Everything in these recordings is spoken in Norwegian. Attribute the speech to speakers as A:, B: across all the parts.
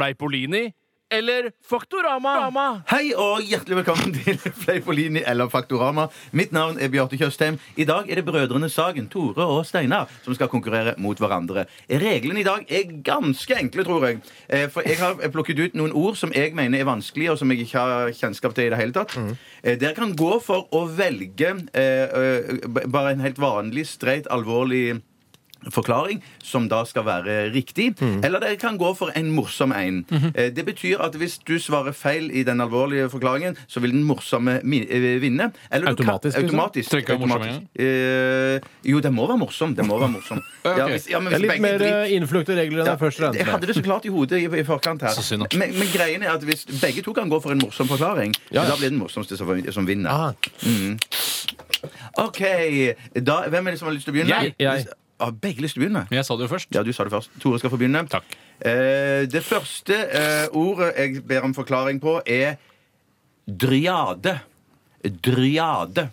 A: Fleipolini eller Faktorama?
B: Hei og hjertelig velkommen til Fleipolini eller Faktorama. Mitt navn er Bjarte Tjøstheim. I dag er det brødrene Sagen, Tore og Steinar, som skal konkurrere mot hverandre. Reglene i dag er ganske enkle, tror jeg. Eh, For jeg har plukket ut noen ord som jeg mener er vanskelige, og som jeg ikke har kjennskap til i det hele tatt. Eh, Dere kan gå for å velge eh, eh, b- bare en helt vanlig, streit, alvorlig forklaring, som da skal være riktig. Eller dere kan gå for en morsom en. Eh, Det betyr at hvis du svarer feil i den alvorlige forklaringen, så vil den morsomme mi- eh, vinne. Eller du
C: Automatisk,
B: Kan,
C: liksom?
B: automatisk.
A: Trenger ikke være morsom
B: automatisk. Eh, jo, den må være morsom. Den må være morsom. ja, hvis, ja, men
C: Det
B: hvis
C: er litt
B: begge
C: mer
B: driter-
C: eh, innflukte regler enn
B: ja,
C: jeg først
B: jeg
C: regnet
B: hadde
C: med.
B: det så klart i hodet i, i forkant her.
A: Så synd, da.
B: Men, men greien er at hvis begge to kan gå for en morsom forklaring, da blir den morsomste som, som vinner.
C: Ah,
B: OK. Da, hvem er det som har lyst til å begynne?
A: Jeg.
C: Jeg.
B: Ah, begge lyst til å begynne?
A: Men jeg sa det jo først.
B: Ja, du sa det først. Tore skal få begynne.
A: Takk.
B: Eh, det første eh, ordet jeg ber om forklaring på, er dryade. Dryade.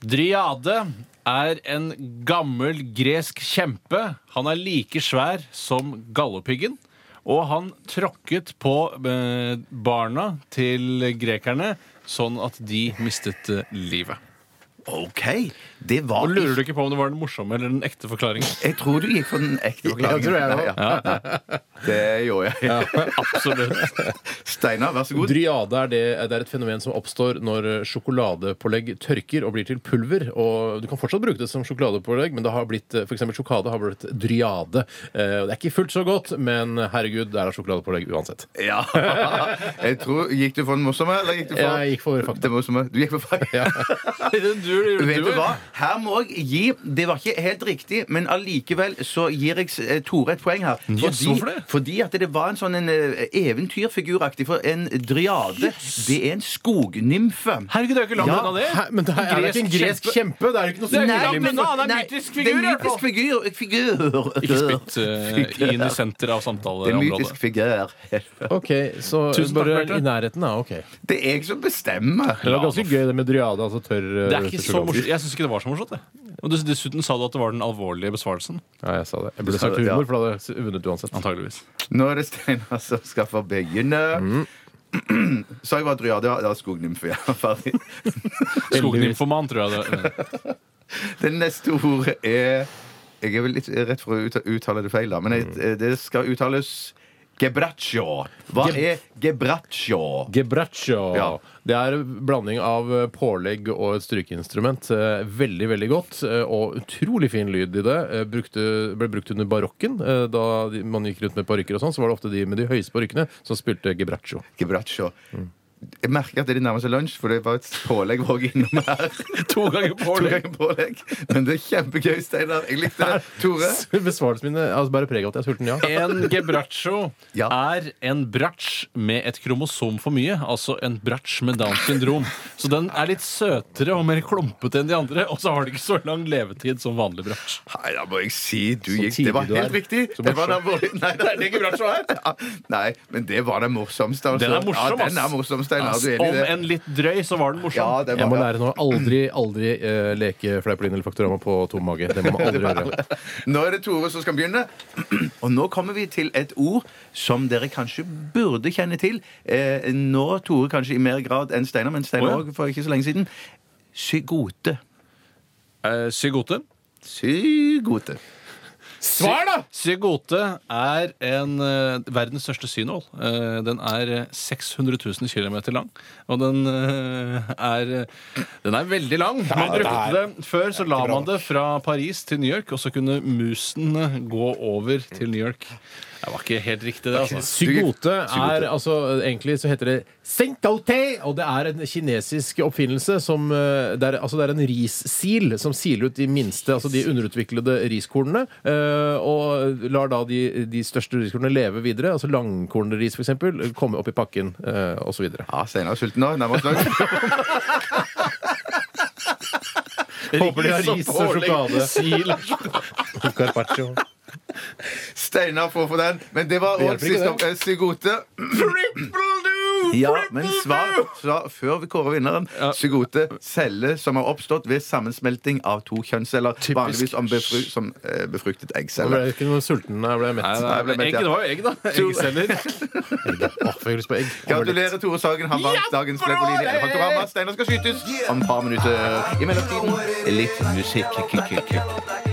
A: Driade er en gammel gresk kjempe. Han er like svær som gallopiggen. Og han tråkket på eh, barna til grekerne sånn at de mistet eh, livet.
B: OK. Det var
A: Og Lurer du ikke på om det var den morsomme eller den ekte forklaringen?
B: Jeg tror du gikk for den ekte forklaringen.
C: tror jeg
B: Nei,
C: også.
B: ja. Det gjorde jeg.
A: Absolutt.
B: Steinar, vær så god.
C: Dryade er, det, det er et fenomen som oppstår når sjokoladepålegg tørker og blir til pulver. og Du kan fortsatt bruke det som sjokoladepålegg, men det har blitt, eh, for eksempel sjokade har blitt dryade. Eh, og Det er ikke fullt så godt, men herregud, det er da sjokoladepålegg uansett.
B: Ja. Jeg tror, Gikk du for den morsomme, eller gikk du for
C: Jeg gikk for fakta.
B: Det morsomme. Du gikk for fakta.
A: Du, du,
B: Vet du hva? Her må jeg gi Det var ikke helt riktig, men allikevel så gir jeg eh, Tore et poeng her.
A: Yes, hvorfor det?
B: fordi at det var en sånn en eh, eventyrfiguraktig For en dryade, det er en skognymfe.
A: Herregud, det er jo ikke langt
B: Ja,
A: unna det.
C: Hæ, men det er, er det ikke en
A: Gresk
C: gresk kjempe? Det er jo ikke noe
A: Det er
C: som
A: ikke
C: Nei,
A: langt
C: men-
A: unna. det er en
B: Nei,
A: mytisk
B: Det
A: figur, i
B: er en
A: hvert fall.
B: mytisk figur. figur.
A: Ikke spytt eh, inn i senteret av
B: Det er en
A: samtaleområdet.
B: mytisk figur.
C: Ok, så
A: Tusen takk,
C: bare
A: Bjarte.
C: i nærheten, da. Ok.
B: Det er jeg som bestemmer.
C: Det var ganske gøy det med dryade, altså tørr eh,
A: Det er ikke så
C: sjokolade.
A: morsomt. Jeg syns ikke det var så morsomt. Det. Og dess- dessuten sa du at det var den alvorlige besvarelsen.
C: Ja, jeg sa det. Jeg burde
B: sa
C: sagt
B: det, ja.
C: humor, for da hadde jeg vunnet uansett.
A: Antageligvis.
B: Nå er det Steinar som skal få begynne.
A: Mm.
B: Sa jeg bare dryade? Ja, det var skognymfe. Ja, ferdig.
A: Skoginformant, tror jeg det.
B: Det neste ordet er Jeg er vel litt rett for å ut- uttale det feil, da, men jeg, eh, det skal uttales gebraccio. Hva
C: Ge-
B: er gebraccio?
C: Gebraccio.
B: Ja.
C: Det er en blanding av eh, pålegg og et strykeinstrument. Eh, Veldig, veldig godt, eh, og utrolig fin lyd i det. Eh, Brukte, ble brukt under barokken. eh, Da de- man gikk rundt med parykker og sånn, så var det ofte de med de høyeste parykkene som spilte gebraccio.
B: Gebraccio. Jeg merker at det nærmer seg lunsj, for det var et pålegg vi også innom her.
A: To ganger
B: To
A: pålegg.
B: ganger pålegg. Men det er kjempegøy, Steinar. Jeg likte det. Tore?
C: Besvarelsen min altså bærer preg av at jeg er sulten, ja.
A: En gebraccio
B: Ja.
A: er en bratsj med et kromosom for mye. Altså en bratsj med Downs syndrom. Så den er litt søtere og mer klumpete enn de andre, og så har den ikke så lang levetid som vanlig bratsj.
B: Nei, da må jeg si du
C: Så
B: gikk Det var
C: tidlig du
B: helt
C: er.
B: riktig.
C: Så
B: Det var den
C: morsom.
B: alvorlige- Nei, det er ikke bratsjo her. Ja, Nei, men det var den morsomste. Altså.
A: Den er morsom,
B: ja,
A: ass.
B: den er morsom, Steinar. Er du enig i
A: Om
B: det?
A: en litt drøy, så var den
B: Ja,
A: morsom.
B: det
C: Jeg
B: var,
C: må
B: ja.
C: lære nå. Aldri, aldri eh, leke Fleipolin eller Faktorama på tom mage. Det må man aldri gjøre.
B: Nå er det Tore som skal begynne. Og nå kommer vi til et ord som dere kanskje burde kjenne til. Eh, nå Tore kanskje i mer grad enn Steinar, men Steinar
A: Å,
B: òg for ikke så lenge siden. Psygote.
A: Eh, Zygote.
B: Psygote.
C: Svar, da!
A: Zygote er en, eh, verdens største synål. Eh, den er eh, 600 000 km lang. Og den eh, er eh, Den er veldig lang. Man
C: det
A: brukte
C: er-
A: det før, så la man det fra Paris til New York, og så kunne musen eh, gå over til New York. Det var ikke helt riktig, det. altså
C: Zygote Eh, er altså Egentlig så heter det Senkaute, og det er en kinesisk oppfinnelse som eh, det er, altså det er en rissil som siler ut de minste, altså de underutviklede riskornene, eh, og lar da de, de største riskornene leve videre, altså langkornris f.eks., komme opp i pakken eh, og så videre
B: Ja, Steinar er sulten nå. Nærmest lag.
C: Håper de har
B: som
C: ris og
B: pålegg.
C: sjokolade. Sil. Carpaccio.
B: Steinar får for den. Men det var
C: Det
B: òg
C: hjelper ikke,
B: siste opp. eh, Psygote.
A: Triple do!
B: Ja, men svar, svar før vi kårer vinneren. Zygote, celle som har oppstått ved sammensmelting av to kjønnsceller. Vanligvis om befru, som eh, befruktet
C: Jeg ble
B: eggceller.
C: ikke noe sulten da jeg ble mett.
B: Nei, jeg ble mett, ja.
A: Eggen var jo egg, da. Eggceller.
C: Åh, jeg fikk lyst på egg.
B: Gratulerer, Tore Sagen. Han vant dagens Fleipolini Elefaktorama. Steinar skal skytes om et par minutter. I mellomtiden litt musikk.